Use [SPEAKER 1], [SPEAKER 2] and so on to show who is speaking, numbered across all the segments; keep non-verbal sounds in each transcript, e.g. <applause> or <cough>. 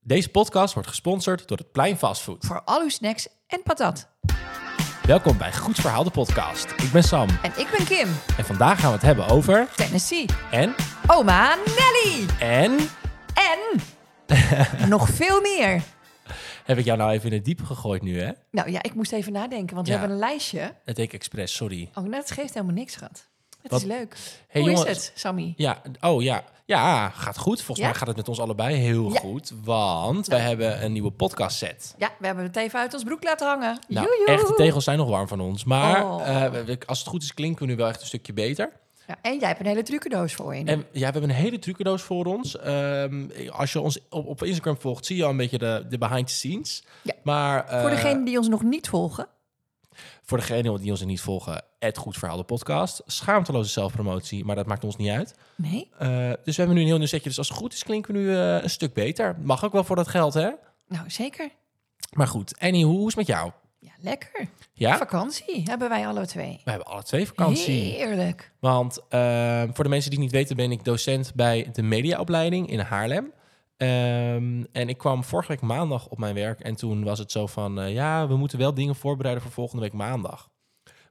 [SPEAKER 1] Deze podcast wordt gesponsord door het Plein Fastfood.
[SPEAKER 2] voor al uw snacks en patat.
[SPEAKER 1] Welkom bij Goeds Verhaal de podcast. Ik ben Sam
[SPEAKER 2] En ik ben Kim,
[SPEAKER 1] en vandaag gaan we het hebben over
[SPEAKER 2] Tennessee.
[SPEAKER 1] en
[SPEAKER 2] Oma Nelly.
[SPEAKER 1] en <laughs>
[SPEAKER 2] En nog veel meer.
[SPEAKER 1] heb ik jou nou even in het diep gegooid nu hè?
[SPEAKER 2] Nou ja, ik moest even nadenken, want
[SPEAKER 1] Ja.
[SPEAKER 2] we hebben een lijstje.
[SPEAKER 1] Het deed ik expres, sorry.
[SPEAKER 2] Oh, nou, dat geeft helemaal niks, schat. Het
[SPEAKER 1] Wat-
[SPEAKER 2] is leuk.
[SPEAKER 1] Hey,
[SPEAKER 2] Hoe
[SPEAKER 1] jongens.
[SPEAKER 2] is het, Sammy?
[SPEAKER 1] Ja, oh ja. Ja, gaat goed. Volgens
[SPEAKER 2] Ja?
[SPEAKER 1] mij gaat het met ons allebei heel
[SPEAKER 2] Ja.
[SPEAKER 1] goed, want wij hebben een nieuwe podcast set.
[SPEAKER 2] Ja, we hebben het even uit ons broek laten hangen.
[SPEAKER 1] Nou,
[SPEAKER 2] Joejoe.
[SPEAKER 1] echt, de tegels zijn nog warm van ons, maar
[SPEAKER 2] Oh.
[SPEAKER 1] eh, we- we- als het goed is klinken we nu wel echt een stukje beter.
[SPEAKER 2] Ja, en jij hebt een hele trucendoos voor je.
[SPEAKER 1] En ja, we hebben een hele trucendoos voor ons. Ehm, als je ons op, op Instagram volgt, zie je al een beetje de, de behind the scenes.
[SPEAKER 2] Ja.
[SPEAKER 1] Maar, eh,
[SPEAKER 2] voor degenen die ons nog niet volgen.
[SPEAKER 1] voor degenen die ons niet volgen, het Goed Verhaal de podcast. Schaamteloze zelfpromotie, maar dat maakt ons niet uit.
[SPEAKER 2] Nee.
[SPEAKER 1] Eh, dus we hebben nu een heel nieuw setje. Dus als het goed is, klinken we nu eh, een stuk beter. Mag ook wel voor dat geld, hè?
[SPEAKER 2] Nou, zeker.
[SPEAKER 1] Maar goed, Annie, hoe is het met jou?
[SPEAKER 2] Ja, lekker.
[SPEAKER 1] Ja,
[SPEAKER 2] Vakantie hebben wij alle twee.
[SPEAKER 1] we hebben alle twee vakantie.
[SPEAKER 2] Heerlijk.
[SPEAKER 1] Want eh, voor de mensen die het niet weten, ben ik docent bij de mediaopleiding in Haarlem. Ehm, en ik kwam vorige week maandag op mijn werk en toen was het zo van, eh, ja, we moeten wel dingen voorbereiden voor volgende week maandag.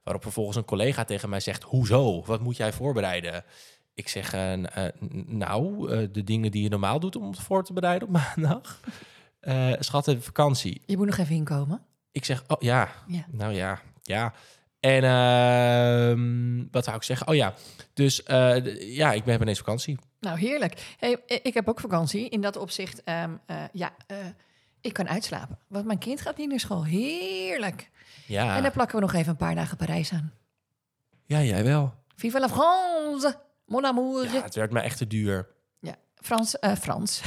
[SPEAKER 1] Waarop vervolgens een collega tegen mij zegt, hoezo? Wat moet jij voorbereiden? Ik zeg, eh, n- eh, n- nou, eh, de dingen die je normaal doet om het voor te bereiden op <laughs> maandag. Eh schat, even vakantie.
[SPEAKER 2] Je moet nog even inkomen.
[SPEAKER 1] Ik zeg, oh ja,
[SPEAKER 2] Ja.
[SPEAKER 1] nou ja, ja. En ehm, wat wou ik zeggen? Oh ja, dus eh, d- ja, ik ben ineens vakantie.
[SPEAKER 2] Nou, heerlijk. Hey, i- ik heb ook vakantie. In dat opzicht, ehm, eh, ja, eh, ik kan uitslapen. Want mijn kind gaat niet naar school. Heerlijk.
[SPEAKER 1] Ja,
[SPEAKER 2] En dan plakken we nog even een paar dagen Parijs aan.
[SPEAKER 1] ja jij wel.
[SPEAKER 2] Vive la France, mon amour.
[SPEAKER 1] Ja, het werd me echt te duur.
[SPEAKER 2] Frans, eh, Frans.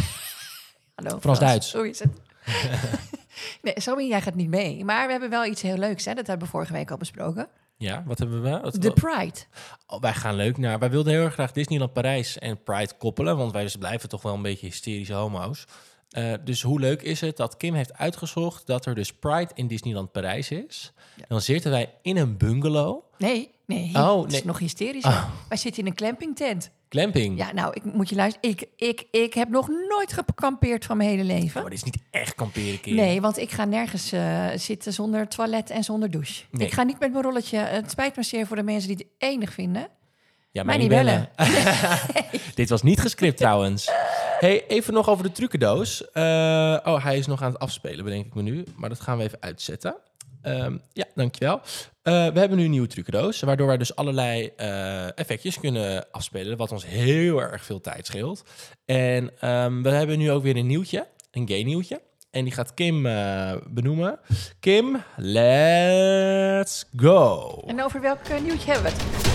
[SPEAKER 2] <laughs> Hallo.
[SPEAKER 1] Frans-Duits.
[SPEAKER 2] Hoe is het? <laughs> nee, Sammy, jij gaat niet mee. Maar we hebben wel iets heel leuks, hè? Dat hebben we vorige week al besproken.
[SPEAKER 1] Ja, wat hebben we? Wat-
[SPEAKER 2] De Pride.
[SPEAKER 1] Oh, wij gaan leuk naar. Wij wilden heel erg graag Disneyland Parijs en Pride koppelen, want wij dus blijven toch wel een beetje hysterische homo's. Eh, dus hoe leuk is het dat Kim heeft uitgezocht dat er dus Pride in Disneyland Parijs is. Dan zitten wij in een bungalow.
[SPEAKER 2] Nee, nee.
[SPEAKER 1] Oh,
[SPEAKER 2] Het
[SPEAKER 1] nee. Ah.
[SPEAKER 2] is nog hysterisch. Wij zitten in een clamping tent.
[SPEAKER 1] Glamping.
[SPEAKER 2] Ja, nou, ik moet je luisteren. Ik, ik, ik heb nog nooit gekampeerd van mijn hele leven.
[SPEAKER 1] Oh, maar dit is niet echt kamperen, Kim.
[SPEAKER 2] Nee, want ik ga nergens eh, zitten zonder toilet en zonder douche.
[SPEAKER 1] Nee.
[SPEAKER 2] Ik ga niet met mijn rolletje. eh, Het spijt me zeer voor de mensen die het enig vinden.
[SPEAKER 1] Ja,
[SPEAKER 2] Mij niet bellen.
[SPEAKER 1] <laughs> Dit was niet gescript trouwens. Hey, even nog over de trucendoos. Eh, oh, hij is nog aan het afspelen, bedenk ik me nu. Maar dat gaan we even uitzetten. Ehm, ja, dankjewel. Eh, we hebben nu een nieuwe trucendoos, waardoor wij dus allerlei eh, effectjes kunnen afspelen, wat ons heel erg veel tijd scheelt. En ehm, we hebben nu ook weer een nieuwtje, een gay nieuwtje. En die gaat Kim eh, benoemen. Kim, let's go.
[SPEAKER 2] En over welk eh, nieuwtje hebben we het?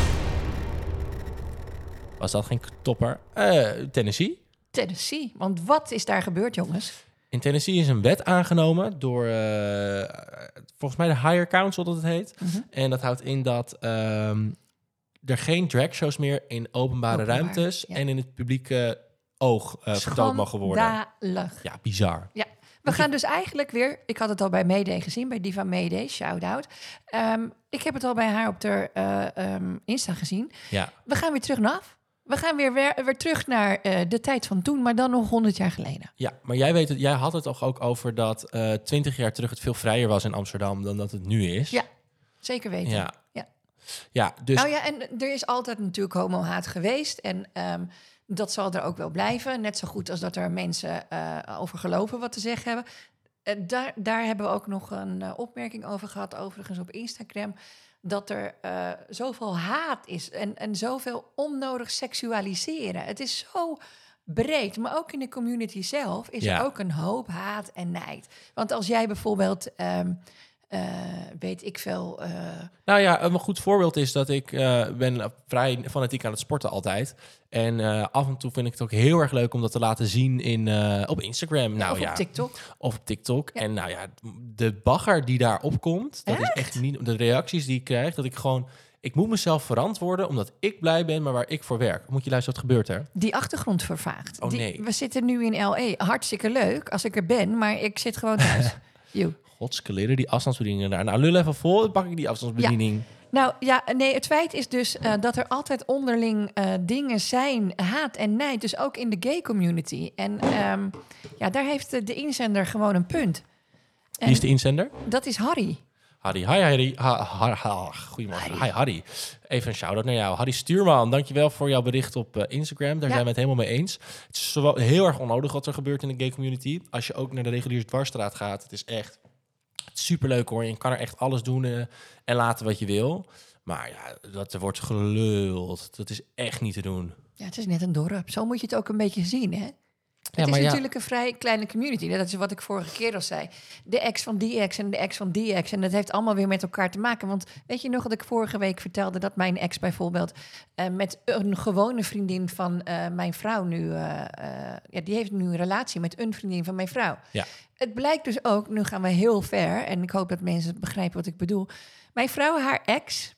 [SPEAKER 1] Was dat geen topper? Eh, Tennessee.
[SPEAKER 2] Tennessee. Want wat is daar gebeurd, jongens?
[SPEAKER 1] In Tennessee is een wet aangenomen door eh, volgens mij de Higher Council dat het heet.
[SPEAKER 2] Mhm.
[SPEAKER 1] En dat houdt in dat ehm, er geen dragshows meer in openbare
[SPEAKER 2] Openbaar,
[SPEAKER 1] ruimtes
[SPEAKER 2] ja.
[SPEAKER 1] en in het publieke oog eh vertoond mogen worden.
[SPEAKER 2] Schandalig.
[SPEAKER 1] Ja, bizar.
[SPEAKER 2] Ja, we gaan dus eigenlijk weer. Ik had het al bij Mayday gezien, bij Diva Mayday, shout out. Ehm, ik heb het al bij haar op haar eh, ehm, Insta gezien.
[SPEAKER 1] Ja,
[SPEAKER 2] We gaan weer terug naar af. We gaan weer, weer, weer terug naar eh, de tijd van toen, maar dan nog 100 jaar geleden.
[SPEAKER 1] ja, maar jij, weet het, jij had het toch ook over dat eh, twintig jaar terug het veel vrijer was in Amsterdam dan dat het nu is.
[SPEAKER 2] Ja, zeker weten.
[SPEAKER 1] Ja.
[SPEAKER 2] Ja.
[SPEAKER 1] Ja, dus
[SPEAKER 2] Nou ja, en er is altijd natuurlijk homo-haat geweest. En ehm, dat zal er ook wel blijven. Net zo goed als dat er mensen eh, over geloven wat te zeggen hebben. Eh, daar, daar hebben we ook nog een eh, opmerking over gehad, overigens op Instagram. Dat er eh, zoveel haat is en, en zoveel onnodig seksualiseren. Het is zo breed, maar ook in de community zelf is
[SPEAKER 1] Ja.
[SPEAKER 2] er ook een hoop haat en nijd. Want als jij bijvoorbeeld, ehm, eh, weet ik veel, eh,
[SPEAKER 1] Nou ja, een goed voorbeeld is dat ik eh, ben vrij fanatiek aan het sporten altijd. En eh, af en toe vind ik het ook heel erg leuk om dat te laten zien in, eh, op Instagram. Nou
[SPEAKER 2] of
[SPEAKER 1] ja,
[SPEAKER 2] op TikTok.
[SPEAKER 1] of op TikTok. En nou ja, de bagger die daar opkomt, dat is echt niet de reacties die ik krijg. Dat ik gewoon, ik moet mezelf verantwoorden omdat ik blij ben, maar waar ik voor werk. Moet je luisteren wat gebeurt er?
[SPEAKER 2] die achtergrond vervaagt.
[SPEAKER 1] Oh,
[SPEAKER 2] Die-
[SPEAKER 1] nee.
[SPEAKER 2] We zitten nu in LA. Hartstikke leuk als ik er ben, maar ik zit
[SPEAKER 1] <laughs>
[SPEAKER 2] gewoon thuis. Joe.
[SPEAKER 1] Godskeleren, die afstandsbedieningen daar. Nou, lul even vol, dan pak ik die afstandsbediening.
[SPEAKER 2] Nou ja, nee, het feit is dus eh, dat er altijd onderling eh, dingen zijn, haat en nijd, dus ook in de gay community. En ehm, ja, daar heeft de, de inzender gewoon een punt. En
[SPEAKER 1] Wie is de inzender?
[SPEAKER 2] dat is Harry.
[SPEAKER 1] Harry. Hi Harry. Ha, ha, ha. Goedemorgen. Hi Harry. Even een shout-out naar jou. Harry Stuurman, dankjewel voor jouw bericht op eh, Instagram. Daar
[SPEAKER 2] Ja.
[SPEAKER 1] zijn we het helemaal mee eens. Het is wel heel erg onnodig wat er gebeurt in de gay community. Als je ook naar de reguliere dwarsstraat gaat, het is echt superleuk hoor. Je kan er echt alles doen eh, en laten wat je wil. Maar ja, dat er wordt geluld. Dat is echt niet te doen.
[SPEAKER 2] Ja, het is net een dorp. Zo moet je het ook een beetje zien, hè?
[SPEAKER 1] Ja,
[SPEAKER 2] het is
[SPEAKER 1] maar ja,
[SPEAKER 2] natuurlijk een vrij kleine community. Dat is wat ik vorige keer al zei. De ex van die ex en de ex van die ex. En dat heeft allemaal weer met elkaar te maken. Want weet je nog dat ik vorige week vertelde dat mijn ex bijvoorbeeld... eh, met een gewone vriendin van eh, mijn vrouw nu... eh, eh, ja, die heeft nu een relatie met een vriendin van mijn vrouw.
[SPEAKER 1] Ja.
[SPEAKER 2] Het blijkt dus ook, nu gaan we heel ver... en ik hoop dat mensen begrijpen wat ik bedoel. Mijn vrouw, haar ex,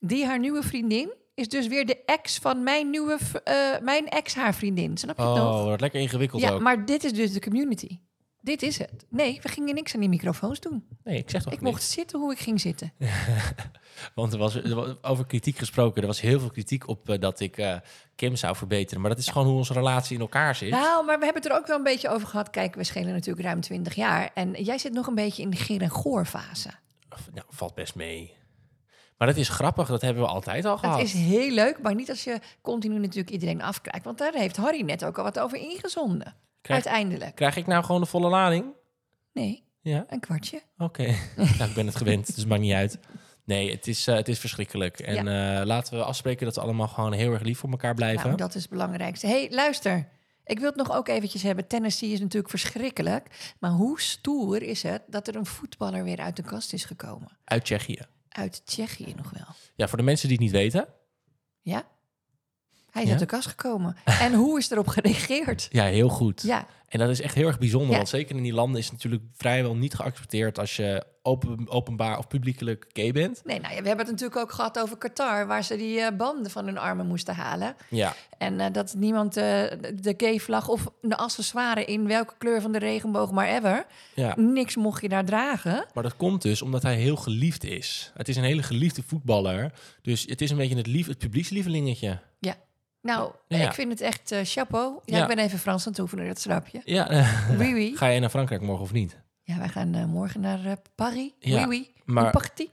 [SPEAKER 2] die haar nieuwe vriendin... is dus weer de ex van mijn, nieuwe, v- eh, mijn ex, haar vriendin. Snap je het nog?
[SPEAKER 1] Oh, wordt lekker ingewikkeld
[SPEAKER 2] Ja,
[SPEAKER 1] ook.
[SPEAKER 2] maar dit is dus de community. Dit is het. Nee, we gingen niks aan die microfoons doen.
[SPEAKER 1] Nee, ik zeg toch
[SPEAKER 2] ik
[SPEAKER 1] niks.
[SPEAKER 2] mocht zitten hoe ik ging zitten.
[SPEAKER 1] Want er was, er was- over kritiek gesproken, er was heel veel kritiek op eh, dat ik eh, Kim zou verbeteren. Maar dat is gewoon hoe onze relatie in elkaar zit.
[SPEAKER 2] Nou, maar we hebben het er ook wel een beetje over gehad. Kijk, we schelen natuurlijk ruim 20 jaar. En jij zit nog een beetje in de geer- en goorfase.
[SPEAKER 1] Of, nou, valt best mee. Maar dat is grappig, dat hebben we altijd al gehad.
[SPEAKER 2] Dat is heel leuk, maar niet als je continu natuurlijk iedereen afkrijgt. Want daar heeft Harry net ook al wat over ingezonden.
[SPEAKER 1] Krijg,
[SPEAKER 2] Uiteindelijk.
[SPEAKER 1] krijg ik nou gewoon de volle lading?
[SPEAKER 2] Nee,
[SPEAKER 1] Ja,
[SPEAKER 2] een kwartje.
[SPEAKER 1] oké. <laughs> nou, ik ben het gewend, dus het maakt niet uit. Nee, het is, eh, het is verschrikkelijk. En eh, laten we afspreken dat we allemaal gewoon heel erg lief voor elkaar blijven.
[SPEAKER 2] Nou, dat is het belangrijkste. hey, luister. Ik wil het nog ook eventjes hebben. Tennessee is natuurlijk verschrikkelijk. Maar hoe stoer is het dat er een voetballer weer uit de kast is gekomen?
[SPEAKER 1] Uit Tsjechië.
[SPEAKER 2] uit Tsjechië nog wel.
[SPEAKER 1] Ja, voor de mensen die het niet weten.
[SPEAKER 2] Ja? Hij is
[SPEAKER 1] Ja?
[SPEAKER 2] uit de kast gekomen. En hoe is erop
[SPEAKER 1] <laughs>
[SPEAKER 2] gereageerd?
[SPEAKER 1] Ja, heel goed.
[SPEAKER 2] Ja,
[SPEAKER 1] En dat is echt heel erg bijzonder.
[SPEAKER 2] Ja.
[SPEAKER 1] Want zeker in die landen is het natuurlijk vrijwel niet geaccepteerd als je open, openbaar of publiekelijk gay bent.
[SPEAKER 2] nee, nou ja, we hebben het natuurlijk ook gehad over Qatar, waar ze die eh, banden van hun armen moesten halen.
[SPEAKER 1] Ja,
[SPEAKER 2] En eh, dat niemand eh, de- de gay-vlag of de accessoire in welke kleur van de regenboog maar ever,
[SPEAKER 1] ja.
[SPEAKER 2] niks mocht je daar dragen.
[SPEAKER 1] Maar dat komt dus omdat hij heel geliefd is. Het is een hele geliefde voetballer. Dus het is een beetje het, lief, het publiekslievelingetje.
[SPEAKER 2] Nou,
[SPEAKER 1] Ja.
[SPEAKER 2] ik vind het echt eh, chapeau. Ja,
[SPEAKER 1] Ja.
[SPEAKER 2] ik ben even Frans aan het oefenen, dat snap je.
[SPEAKER 1] <laughs> Ja,
[SPEAKER 2] Oui, oui.
[SPEAKER 1] ga jij naar Frankrijk morgen of niet?
[SPEAKER 2] Ja, wij gaan eh, morgen naar eh, Paris.
[SPEAKER 1] Ja,
[SPEAKER 2] oui, oui.
[SPEAKER 1] maar-
[SPEAKER 2] Een party.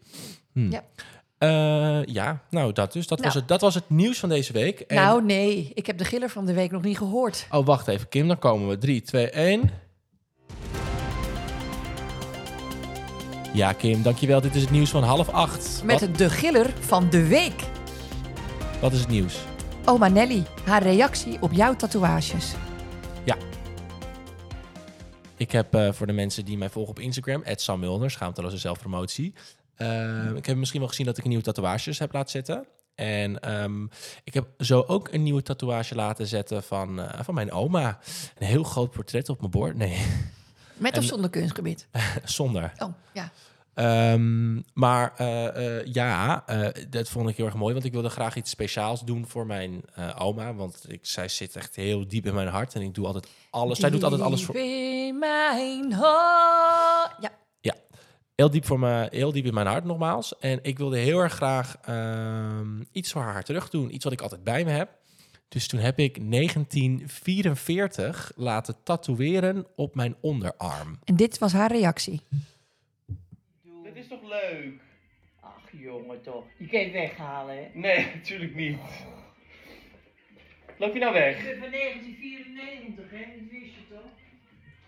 [SPEAKER 1] Eh, ja, nou dat dus. Dat,
[SPEAKER 2] Nou.
[SPEAKER 1] Was het, dat was het nieuws van deze week. En-
[SPEAKER 2] Nou, nee, ik heb de giller van de week nog niet gehoord.
[SPEAKER 1] Oh, wacht even, Kim. Dan komen we. 3, 2, 1. Ja, Kim, dankjewel. Dit is het nieuws van half acht.
[SPEAKER 2] Met
[SPEAKER 1] wat,
[SPEAKER 2] de giller van de week.
[SPEAKER 1] wat is het nieuws?
[SPEAKER 2] Oma Nelly, haar reactie op jouw tatoeages.
[SPEAKER 1] Ik heb eh, voor de mensen die mij volgen op Instagram, Sam Mulder, schaamteloze zelfpromotie. Ehm, ik heb misschien wel gezien dat ik nieuwe tatoeages heb laten zetten. En ehm, ik heb zo ook een nieuwe tatoeage laten zetten van, eh, van mijn oma. Een heel groot portret op mijn bord. Nee, <laughs>
[SPEAKER 2] Met of
[SPEAKER 1] En-
[SPEAKER 2] zonder kunstgebied?
[SPEAKER 1] zonder.
[SPEAKER 2] Oh, ja.
[SPEAKER 1] Ehm, maar eh, eh, ja, eh, dat vond ik heel erg mooi. Want ik wilde graag iets speciaals doen voor mijn eh, oma. Want ik, zij zit echt heel diep in mijn hart. En ik doe altijd alles. Zij doet altijd alles voor,
[SPEAKER 2] Diep in mijn hart. Ja,
[SPEAKER 1] heel diep, voor me, heel diep in mijn hart nogmaals. En ik wilde heel erg graag ehm, iets voor haar terug doen. Iets wat ik altijd bij me heb. Dus toen heb ik 1944 laten tatoeëren op mijn onderarm.
[SPEAKER 2] en dit was haar reactie.
[SPEAKER 3] Dat is toch leuk?
[SPEAKER 4] Ach jongen toch, je kan het weghalen hè.
[SPEAKER 3] Nee, <laughs> natuurlijk niet. Loop je nou weg?
[SPEAKER 4] Van 1994 hè, dat wist je toch?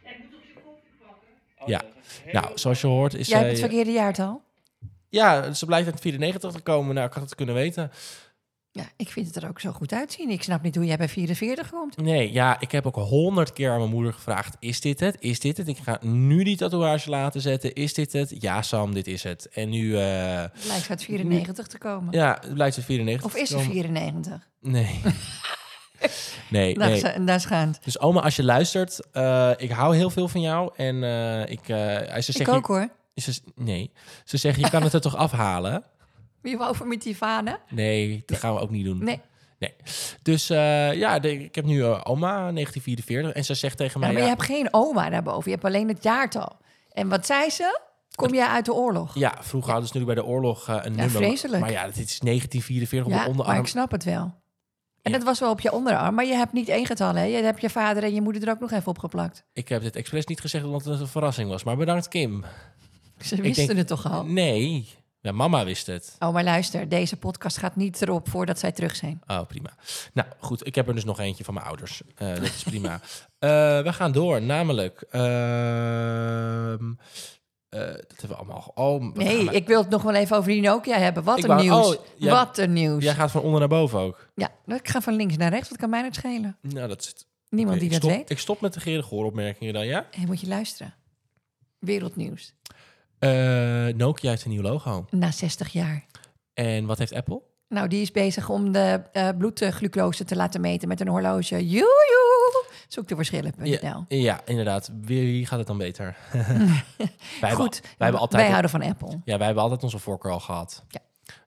[SPEAKER 4] Hij moet toch zijn koffie pakken?
[SPEAKER 3] Oh,
[SPEAKER 1] Ja.
[SPEAKER 3] dat is heel-
[SPEAKER 1] Nou, zoals je hoort is
[SPEAKER 2] Jij hebt
[SPEAKER 1] zij...
[SPEAKER 2] het verkeerde jaartal?
[SPEAKER 1] Ja, ze blijft uit 94 gekomen. Nou, ik had het kunnen weten.
[SPEAKER 2] Ja, ik vind het er ook zo goed uitzien. Ik snap niet hoe jij bij 44 komt.
[SPEAKER 1] Nee, ja, ik heb ook honderd keer aan mijn moeder gevraagd: is dit het? Is dit het? Ik ga nu die tatoeage laten zetten. Is dit het? Ja, Sam, dit is het. En nu, eh,
[SPEAKER 2] Het lijkt uit 94 te komen.
[SPEAKER 1] ja, het blijkt ze 94.
[SPEAKER 2] Of is ze
[SPEAKER 1] te
[SPEAKER 2] 94?
[SPEAKER 1] komen.
[SPEAKER 2] <laughs>
[SPEAKER 1] Nee. nee,
[SPEAKER 2] Daar
[SPEAKER 1] nee.
[SPEAKER 2] is- Daar schaamt.
[SPEAKER 1] Dus oma, als je luistert, eh, ik hou heel veel van jou. En eh, ik, eh, ze
[SPEAKER 2] Ik
[SPEAKER 1] zegt,
[SPEAKER 2] ook hoor.
[SPEAKER 1] je- ze, nee, ze zegt, je kan het er toch afhalen?
[SPEAKER 2] Wie wou over met die vanen?
[SPEAKER 1] Nee, dat gaan we ook niet doen.
[SPEAKER 2] Nee.
[SPEAKER 1] Nee. Dus eh, ja, de- ik heb nu eh, oma, 1944. En ze zegt tegen
[SPEAKER 2] Nou,
[SPEAKER 1] mij...
[SPEAKER 2] maar
[SPEAKER 1] ja,
[SPEAKER 2] je hebt geen oma daarboven. Je hebt alleen het jaartal. En wat zei ze? Kom jij uit de oorlog?
[SPEAKER 1] Ja, vroeger hadden ze natuurlijk bij de oorlog eh, een
[SPEAKER 2] Ja,
[SPEAKER 1] nummer.
[SPEAKER 2] vreselijk.
[SPEAKER 1] Maar ja, dit is 1944 op
[SPEAKER 2] Ja,
[SPEAKER 1] de
[SPEAKER 2] maar
[SPEAKER 1] onderarm.
[SPEAKER 2] ik snap het wel. En
[SPEAKER 1] Ja.
[SPEAKER 2] dat was wel op je onderarm, maar je hebt niet één getal, hè? Je hebt je vader en je moeder er ook nog even opgeplakt.
[SPEAKER 1] Ik heb dit expres niet gezegd omdat het een verrassing was. Maar bedankt, Kim.
[SPEAKER 2] <laughs> Ze wisten
[SPEAKER 1] denk-
[SPEAKER 2] het toch al.
[SPEAKER 1] Nee, ja, mama wist het.
[SPEAKER 2] Oh, maar luister, deze podcast gaat niet erop voordat zij terug zijn.
[SPEAKER 1] Oh, prima. Nou, goed. Ik heb er dus nog eentje van mijn ouders. Eh, dat is <laughs> prima. Eh, we gaan door, namelijk... ehm, eh, dat hebben we allemaal... ge- Oh, we gaan
[SPEAKER 2] Nee,
[SPEAKER 1] maar-
[SPEAKER 2] ik wil het nog wel even over die Nokia hebben. Wat
[SPEAKER 1] Ik
[SPEAKER 2] een
[SPEAKER 1] wou-
[SPEAKER 2] nieuws.
[SPEAKER 1] oh, jij-
[SPEAKER 2] Wat een nieuws.
[SPEAKER 1] Jij gaat van onder naar boven ook.
[SPEAKER 2] Ja, ik ga van links naar rechts, wat kan mij nou schelen?
[SPEAKER 1] Nou, dat zit...
[SPEAKER 2] Niemand
[SPEAKER 1] Oké,
[SPEAKER 2] die dat
[SPEAKER 1] ik stop,
[SPEAKER 2] weet.
[SPEAKER 1] Ik stop met de gerige opmerkingen dan, ja?
[SPEAKER 2] Hé, moet je luisteren. Wereldnieuws.
[SPEAKER 1] Eh, Nokia heeft een nieuw logo.
[SPEAKER 2] Na 60 jaar.
[SPEAKER 1] En wat heeft Apple?
[SPEAKER 2] Nou, die is bezig om de eh bloedglucose te laten meten met een horloge. Joejoe! Zoek de verschillen.nl.
[SPEAKER 1] Ja, ja, inderdaad. Wie, wie gaat het dan beter? <laughs> wij hebben,
[SPEAKER 2] Goed,
[SPEAKER 1] wij hebben altijd,
[SPEAKER 2] houden van Apple.
[SPEAKER 1] ja, wij hebben altijd onze voorkeur al gehad.
[SPEAKER 2] Ja.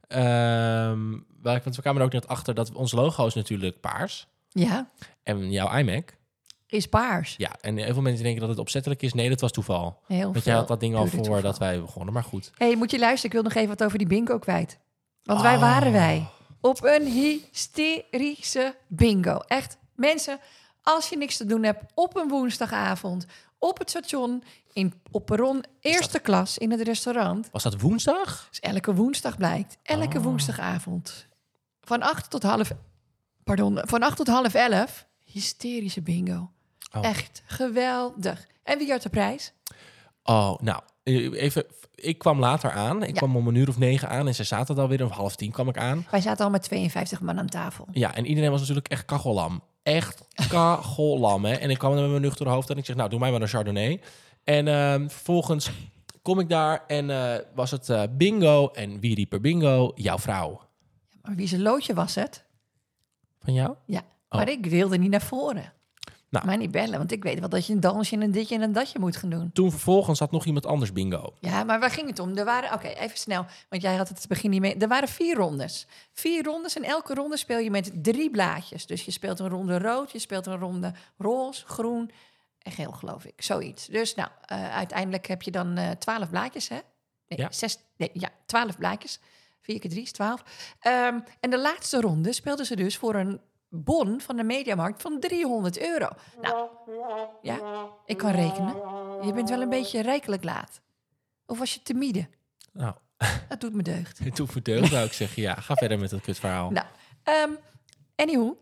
[SPEAKER 1] Ehm, wij- want we kwamen er ook net achter dat ons logo is natuurlijk paars.
[SPEAKER 2] Ja,
[SPEAKER 1] En jouw iMac.
[SPEAKER 2] is paars.
[SPEAKER 1] Ja, en heel veel mensen denken dat het opzettelijk is. Nee, dat was toeval.
[SPEAKER 2] Heel
[SPEAKER 1] Want
[SPEAKER 2] veel
[SPEAKER 1] jij had dat ding al
[SPEAKER 2] puur
[SPEAKER 1] voor
[SPEAKER 2] toeval.
[SPEAKER 1] dat wij begonnen. Maar goed.
[SPEAKER 2] Hé, moet je luisteren. Ik wil nog even wat over die bingo kwijt. Want
[SPEAKER 1] Oh.
[SPEAKER 2] wij waren wij op een hysterische bingo. Echt, mensen, als je niks te doen hebt op een woensdagavond... op het station, in, op perron, eerste klas in het restaurant...
[SPEAKER 1] Was dat woensdag?
[SPEAKER 2] Dus elke woensdag blijkt. Elke
[SPEAKER 1] Oh.
[SPEAKER 2] woensdagavond. Van 8 tot half... Pardon, van 8 tot half 11. Hysterische bingo.
[SPEAKER 1] Oh.
[SPEAKER 2] Echt geweldig. En wie had de prijs?
[SPEAKER 1] Oh, nou, eh, even. Ik kwam later aan. Ik
[SPEAKER 2] Ja.
[SPEAKER 1] kwam om een uur of negen aan. En ze zaten dan weer om half tien kwam ik aan.
[SPEAKER 2] Wij zaten al met 52 man aan tafel.
[SPEAKER 1] Ja, en iedereen was natuurlijk echt kachelam. Echt <laughs> kachelam, hè. En ik kwam er met mijn nuchter hoofd en ik zeg, nou, doe mij maar een chardonnay. En ehm, vervolgens kom ik daar en eh, was het eh, bingo. En wie riep er bingo? Jouw vrouw.
[SPEAKER 2] Maar wie zijn loodje was het?
[SPEAKER 1] Van jou?
[SPEAKER 2] Ja. Maar ik wilde niet naar voren.
[SPEAKER 1] Oh. Nou.
[SPEAKER 2] Maar niet bellen, want ik weet wel dat je een dansje en een ditje en een datje moet gaan doen.
[SPEAKER 1] Toen vervolgens had nog iemand anders bingo.
[SPEAKER 2] Ja, maar waar ging het om? Er waren, oké, even snel, want jij had het begin niet mee. Er waren vier rondes. Vier rondes en elke ronde speel je met drie blaadjes. Dus je speelt een ronde rood, je speelt een ronde roze, groen en geel, geloof ik. Zoiets. Dus nou, eh, uiteindelijk heb je dan eh, twaalf blaadjes, hè? Nee,
[SPEAKER 1] Ja.
[SPEAKER 2] zes, nee, ja, twaalf blaadjes. Vier keer drie is twaalf. Ehm, en de laatste ronde speelden ze dus voor een bon van de mediamarkt van 300 euro. Nou, ja, ik kan rekenen. Je bent wel een beetje rijkelijk laat. Of was je timide?
[SPEAKER 1] Nou, <laughs>
[SPEAKER 2] Dat doet me deugd.
[SPEAKER 1] toen verdeeld zou ik zeggen, ja, ga verder met dat kutverhaal.
[SPEAKER 2] Nou, ehm anywho,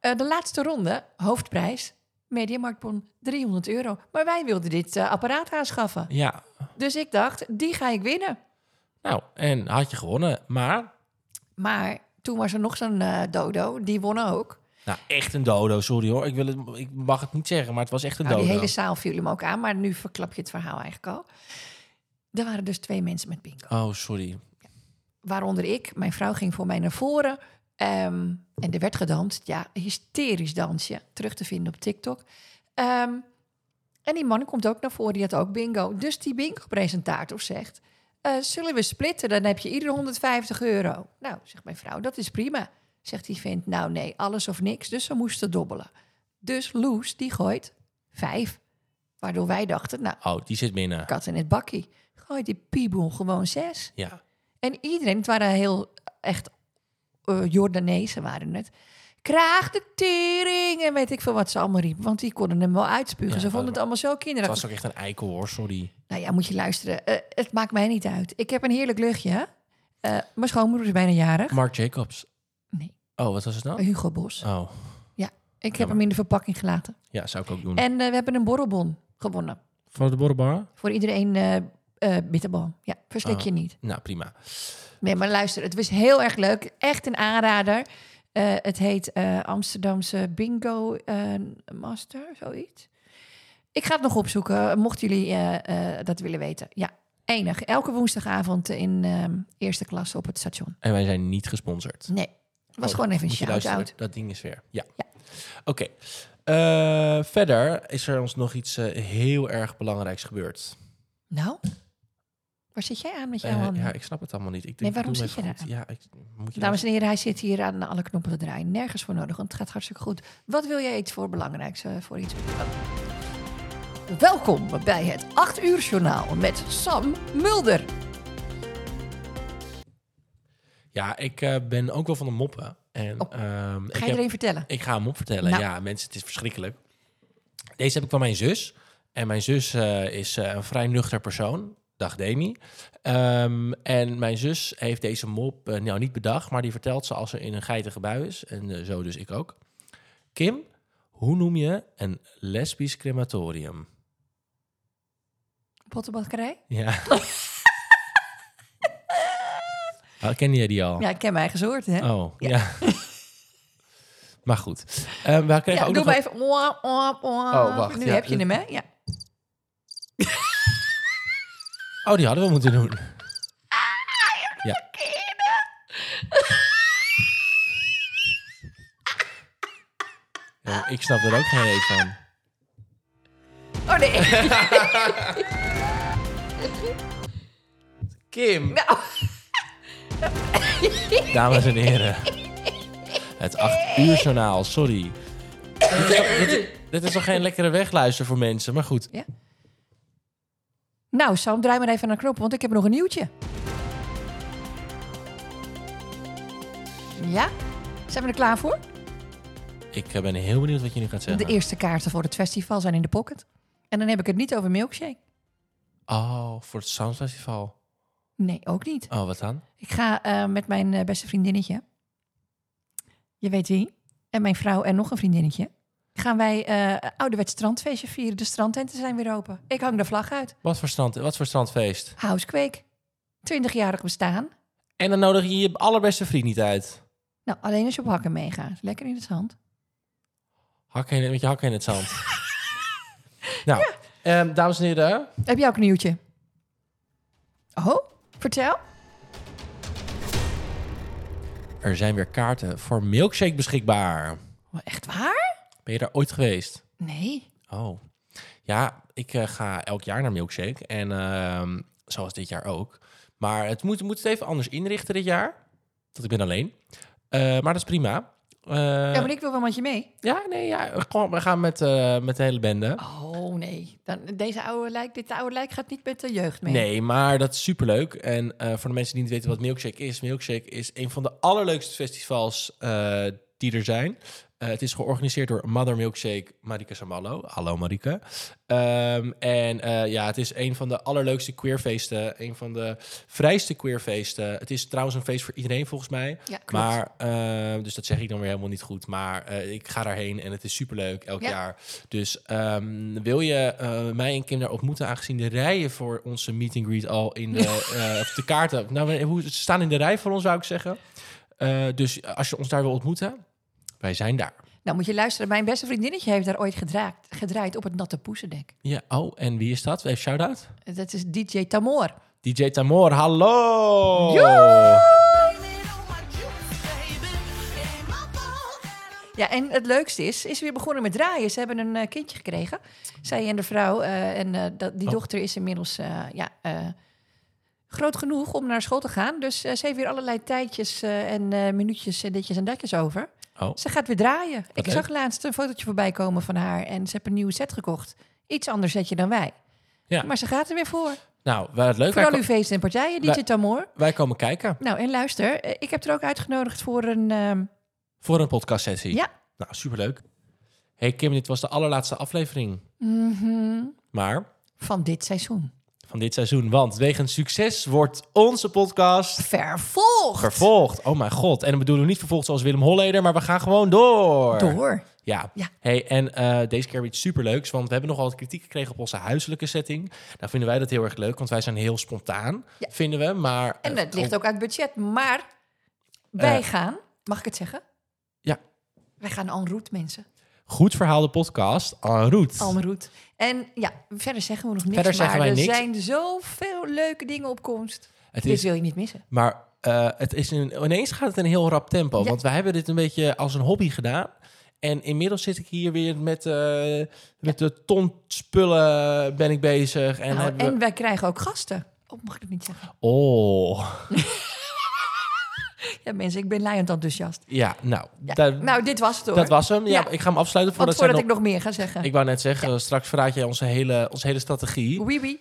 [SPEAKER 2] eh, de laatste ronde, hoofdprijs, Mediamarktbon 300 euro. Maar wij wilden dit eh, apparaat aanschaffen.
[SPEAKER 1] Ja,
[SPEAKER 2] Dus ik dacht, die ga ik winnen.
[SPEAKER 1] nou, en had je gewonnen. Maar,
[SPEAKER 2] Maar toen was er nog zo'n eh, dodo, die won ook.
[SPEAKER 1] nou, echt een dodo, sorry hoor. Ik, wil het, ik mag het niet zeggen, maar het was echt een
[SPEAKER 2] Nou, die
[SPEAKER 1] dodo.
[SPEAKER 2] hele zaal viel hem ook aan, maar nu verklap je het verhaal eigenlijk al. Er waren dus twee mensen met bingo.
[SPEAKER 1] Oh, sorry.
[SPEAKER 2] waaronder ik. Mijn vrouw ging voor mij naar voren. Ehm, en er werd gedanst. Ja, hysterisch dansje. Terug te vinden op TikTok. Ehm, en die man komt ook naar voren. Die had ook bingo. Dus die bingo-presentator zegt... eh, zullen we splitten? Dan heb je ieder 150 euro. Nou, zegt mijn vrouw, dat is prima. Zegt die vent, nou nee, alles of niks. Dus ze moesten dobbelen. Dus Loes, die gooit vijf. Waardoor wij dachten, nou,
[SPEAKER 1] Oh, die zit binnen.
[SPEAKER 2] kat in het bakkie. Gooit die piebel gewoon zes.
[SPEAKER 1] Ja.
[SPEAKER 2] En iedereen, het waren heel echt eh Jordanezen waren het. Kraag de tering en weet ik veel wat ze allemaal riepen. Want die konden hem wel uitspugen.
[SPEAKER 1] Ja, oh.
[SPEAKER 2] ze vonden het allemaal zo
[SPEAKER 1] Het
[SPEAKER 2] kinderachtig.
[SPEAKER 1] was ook echt een eikel hoor, sorry.
[SPEAKER 2] Nou ja, moet je luisteren. Eh, het maakt mij niet uit. Ik heb een heerlijk luchtje. hè. Eh, mijn schoonmoeder is bijna jarig.
[SPEAKER 1] Mark Jacobs.
[SPEAKER 2] Nee,
[SPEAKER 1] Oh, wat was het dan?
[SPEAKER 2] Hugo Bos.
[SPEAKER 1] Oh,
[SPEAKER 2] Ik heb
[SPEAKER 1] jammer. Hm.
[SPEAKER 2] hem in de verpakking gelaten.
[SPEAKER 1] ja, zou ik ook doen.
[SPEAKER 2] En eh, we hebben een borrelbon gewonnen.
[SPEAKER 1] Voor de borrelbar?
[SPEAKER 2] Voor iedereen eh eh, bitterbal. Ja, verslik
[SPEAKER 1] Ah.
[SPEAKER 2] je niet.
[SPEAKER 1] Nou, prima.
[SPEAKER 2] Nee, maar luister, het was heel erg leuk. Echt een aanrader. Eh, het heet eh, Amsterdamse Bingo eh, Master, zoiets. Ik ga het nog opzoeken, mochten jullie eh, eh, dat willen weten. Ja, enig. Elke woensdagavond in ehm, eerste klas op het station.
[SPEAKER 1] En wij zijn niet gesponsord.
[SPEAKER 2] Nee, het was
[SPEAKER 1] Oh,
[SPEAKER 2] gewoon even een
[SPEAKER 1] Moet je
[SPEAKER 2] shout-out.
[SPEAKER 1] luisteren, dat ding is weer. Ja.
[SPEAKER 2] Ja.
[SPEAKER 1] Oké. Eh, verder is er ons nog iets eh, heel erg belangrijks gebeurd.
[SPEAKER 2] Nou, waar zit jij aan met jouw
[SPEAKER 1] Eh,
[SPEAKER 2] handen?
[SPEAKER 1] ja, ik snap het allemaal niet. Ik denk,
[SPEAKER 2] Nee, waarom
[SPEAKER 1] doe
[SPEAKER 2] zit
[SPEAKER 1] even
[SPEAKER 2] je
[SPEAKER 1] goed. Ja, ik, moet je
[SPEAKER 2] Dames en heren, hij zit hier aan alle knoppen te draaien. Nergens voor nodig, want het gaat hartstikke goed. Wat wil jij iets voor belangrijks, eh, voor iets? Welkom bij het 8 uur journaal met Sam Mulder.
[SPEAKER 1] Ja, ik eh, ben ook wel van de moppen. En,
[SPEAKER 2] Oh.
[SPEAKER 1] ehm, ik
[SPEAKER 2] Ga je
[SPEAKER 1] heb-
[SPEAKER 2] er een vertellen?
[SPEAKER 1] Ik ga hem op vertellen.
[SPEAKER 2] Nou.
[SPEAKER 1] Ja, mensen, het is verschrikkelijk. Deze heb ik van mijn zus. En mijn zus eh, is eh, een vrij nuchter persoon. Dag Demi. Ehm, en mijn zus heeft deze mop eh, nou niet bedacht, maar die vertelt ze als ze in een geitige bui is. En eh, zo dus ik ook. Kim, hoe noem je een lesbisch crematorium?
[SPEAKER 2] Pottenbakkerij?
[SPEAKER 1] Ja. <laughs> Ah, ken jij die al?
[SPEAKER 2] Ja, ik ken mijn eigen soort, hè?
[SPEAKER 1] Oh, ja.
[SPEAKER 2] <laughs>
[SPEAKER 1] maar goed. Ehm we kregen
[SPEAKER 2] Ja,
[SPEAKER 1] ook nog
[SPEAKER 2] doe maar
[SPEAKER 1] een-
[SPEAKER 2] even. Wah, wah, wah.
[SPEAKER 1] Oh, wacht,
[SPEAKER 2] Nu
[SPEAKER 1] ja,
[SPEAKER 2] heb je
[SPEAKER 1] dat-
[SPEAKER 2] hem, hè? Ja.
[SPEAKER 1] Oh, die hadden we moeten doen.
[SPEAKER 2] Ah,
[SPEAKER 1] Ja. <laughs> Ja, Eh, Ik snap er ook geen reet van.
[SPEAKER 2] Oh
[SPEAKER 1] <laughs>
[SPEAKER 2] nee.
[SPEAKER 1] Kim.
[SPEAKER 2] Nou.
[SPEAKER 1] Dames en heren. Het 8 uur journaal, sorry. Dit is, toch, dit, dit is toch geen lekkere wegluister voor mensen, maar goed.
[SPEAKER 2] Nou, Sam, draai maar even naar knoppen, want ik heb nog een nieuwtje. Ja? Zijn we er klaar voor?
[SPEAKER 1] Ik eh, ben heel benieuwd wat je nu gaat zeggen.
[SPEAKER 2] De eerste kaarten voor het festival zijn in de pocket. En dan heb ik het niet over milkshake.
[SPEAKER 1] Oh, voor het Soundfestival.
[SPEAKER 2] Nee, ook niet.
[SPEAKER 1] Oh, wat dan?
[SPEAKER 2] Ik ga eh, met mijn eh, beste vriendinnetje. Je weet wie. En mijn vrouw en nog een vriendinnetje. Gaan wij eh ouderwets strandfeestje vieren. De strandtenten zijn weer open. Ik hang de vlag uit.
[SPEAKER 1] Wat voor, strand, wat voor strandfeest?
[SPEAKER 2] Housequake. 20-jarig bestaan.
[SPEAKER 1] En dan nodig je je allerbeste vriend niet uit.
[SPEAKER 2] Nou, alleen als je op hakken meegaat. Lekker in het zand.
[SPEAKER 1] Hakken in, met je hakken in het <laughs> zand. nou, ehm, dames en heren.
[SPEAKER 2] Heb jij ook een nieuwtje? Oh, vertel.
[SPEAKER 1] Er zijn weer kaarten voor Milkshake beschikbaar.
[SPEAKER 2] Oh, Echt waar?
[SPEAKER 1] Ben je daar ooit geweest?
[SPEAKER 2] Nee.
[SPEAKER 1] Oh. Ja, ik eh, ga elk jaar naar Milkshake. En ehm, zoals dit jaar ook. Maar het moet, moet het even anders inrichten dit jaar. Want ik ben alleen. Eh, maar dat is prima. Eh,
[SPEAKER 2] ja, maar ik wil wel met je mee.
[SPEAKER 1] ja, nee, ja. Gewoon, we gaan met, eh, met de hele bende.
[SPEAKER 2] Oh, nee. Dan, deze oude lijk, dit oude lijk gaat niet met de jeugd mee.
[SPEAKER 1] Nee, maar dat is superleuk. En eh, voor de mensen die niet weten wat Milkshake is... Milkshake is een van de allerleukste festivals eh, die er zijn. Eh, het is georganiseerd door Mother Milkshake Marika Samallo. Hallo Marika. Ehm, en eh, ja, het is een van de allerleukste queerfeesten. Een van de vrijste queerfeesten. Het is trouwens een feest voor iedereen volgens mij.
[SPEAKER 2] Ja, klopt.
[SPEAKER 1] Maar, ehm, dus dat zeg ik dan weer helemaal niet goed. Maar eh, ik ga daarheen en het is superleuk elk
[SPEAKER 2] Ja.
[SPEAKER 1] jaar. Dus ehm, wil je eh, mij en Kim daar ontmoeten, aangezien de rijen voor onze meet and greet al in de, eh, of de kaarten. Nou, hoe, ze staan in de rij voor ons, zou ik zeggen. Eh, dus als je ons daar wil ontmoeten, wij zijn daar.
[SPEAKER 2] Nou, moet je luisteren. Mijn beste vriendinnetje heeft daar ooit gedraaid, gedraaid op het natte poesendek.
[SPEAKER 1] Ja, oh, en wie is dat? Even shout-out.
[SPEAKER 2] Dat is DJ Tamor.
[SPEAKER 1] DJ Tamor, hallo!
[SPEAKER 2] Ja, en het leukste is, is weer begonnen met draaien. Ze hebben een eh, kindje gekregen. Zij en de vrouw. eh, en eh, dat, die
[SPEAKER 1] Oh.
[SPEAKER 2] dochter is inmiddels eh, ja, eh, groot genoeg om naar school te gaan. Dus eh, ze heeft weer allerlei tijdjes eh, en eh, minuutjes en ditjes en datjes over.
[SPEAKER 1] Oh,
[SPEAKER 2] Ze gaat weer draaien. Ik
[SPEAKER 1] leuk.
[SPEAKER 2] zag laatst een fotootje voorbij komen van haar. En ze heeft een nieuwe set gekocht. Iets anders setje dan wij.
[SPEAKER 1] Ja.
[SPEAKER 2] Maar ze gaat er weer voor.
[SPEAKER 1] nou, wat leuk.
[SPEAKER 2] Voor
[SPEAKER 1] Wij,
[SPEAKER 2] al uw feesten en partijen, DJ
[SPEAKER 1] Wij-
[SPEAKER 2] Tamor.
[SPEAKER 1] wij komen kijken
[SPEAKER 2] Nou, en luister, eh, ik heb er ook uitgenodigd voor een... ehm,
[SPEAKER 1] voor een podcastsessie.
[SPEAKER 2] Ja.
[SPEAKER 1] Nou, superleuk. Hey Kim, dit was de allerlaatste aflevering.
[SPEAKER 2] mhm,
[SPEAKER 1] Maar
[SPEAKER 2] van dit seizoen.
[SPEAKER 1] van dit seizoen. Want wegens succes wordt onze podcast
[SPEAKER 2] Vervolgd!
[SPEAKER 1] vervolgd. Oh mijn god. En dan bedoelen we niet vervolgd zoals Willem Holleder, maar we gaan gewoon door.
[SPEAKER 2] Door.
[SPEAKER 1] Ja.
[SPEAKER 2] Ja.
[SPEAKER 1] Hey, en eh, deze keer weer iets superleuks, want we hebben nogal wat kritiek gekregen op onze huiselijke setting. Nou vinden wij dat heel erg leuk, want wij zijn heel spontaan,
[SPEAKER 2] Ja.
[SPEAKER 1] vinden we. Maar,
[SPEAKER 2] En
[SPEAKER 1] eh,
[SPEAKER 2] het ligt ook aan het budget. Maar wij
[SPEAKER 1] Eh.
[SPEAKER 2] gaan, mag ik het zeggen?
[SPEAKER 1] Ja.
[SPEAKER 2] Wij gaan en route, mensen.
[SPEAKER 1] Goed verhaal de podcast, en route.
[SPEAKER 2] En route. En ja, verder zeggen we nog niks.
[SPEAKER 1] Verder
[SPEAKER 2] maar
[SPEAKER 1] zeggen wij
[SPEAKER 2] er
[SPEAKER 1] niks.
[SPEAKER 2] zijn zoveel leuke dingen op komst.
[SPEAKER 1] het
[SPEAKER 2] Dit
[SPEAKER 1] is,
[SPEAKER 2] wil je niet missen.
[SPEAKER 1] maar eh, het is een, ineens gaat het in een heel rap tempo,
[SPEAKER 2] Ja.
[SPEAKER 1] want wij hebben dit een beetje als een hobby gedaan. En inmiddels zit ik hier weer met, eh, met de ton spullen ben ik bezig. En
[SPEAKER 2] Nou,
[SPEAKER 1] hebben we-
[SPEAKER 2] en wij krijgen ook gasten. Oh, mag ik het niet zeggen?
[SPEAKER 1] Oh.
[SPEAKER 2] Ja, mensen, ik ben laaiend enthousiast.
[SPEAKER 1] Ja, nou,
[SPEAKER 2] Ja.
[SPEAKER 1] daar-
[SPEAKER 2] nou, dit was het hoor.
[SPEAKER 1] dat was hem. Ja,
[SPEAKER 2] Ja.
[SPEAKER 1] Ik ga hem afsluiten voordat,
[SPEAKER 2] Want voordat
[SPEAKER 1] zij
[SPEAKER 2] ik nog meer ga zeggen.
[SPEAKER 1] Ik wou net zeggen, straks verraad jij onze hele, onze hele strategie.
[SPEAKER 2] Wee wee.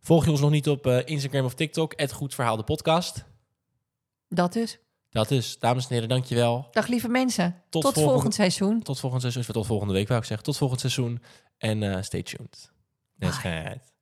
[SPEAKER 1] Volg je ons nog niet op eh, Instagram of TikTok, het Goed Verhaal de podcast.
[SPEAKER 2] Dat dus.
[SPEAKER 1] Dat is, dames en heren, dankjewel.
[SPEAKER 2] Dag lieve mensen.
[SPEAKER 1] Tot
[SPEAKER 2] Tot,
[SPEAKER 1] volgende-
[SPEAKER 2] volgend seizoen.
[SPEAKER 1] Tot volgend seizoen, tot volgende week wou ik zeggen. Tot volgend seizoen en eh, stay tuned. Nee,
[SPEAKER 2] Bye.
[SPEAKER 1] schijt.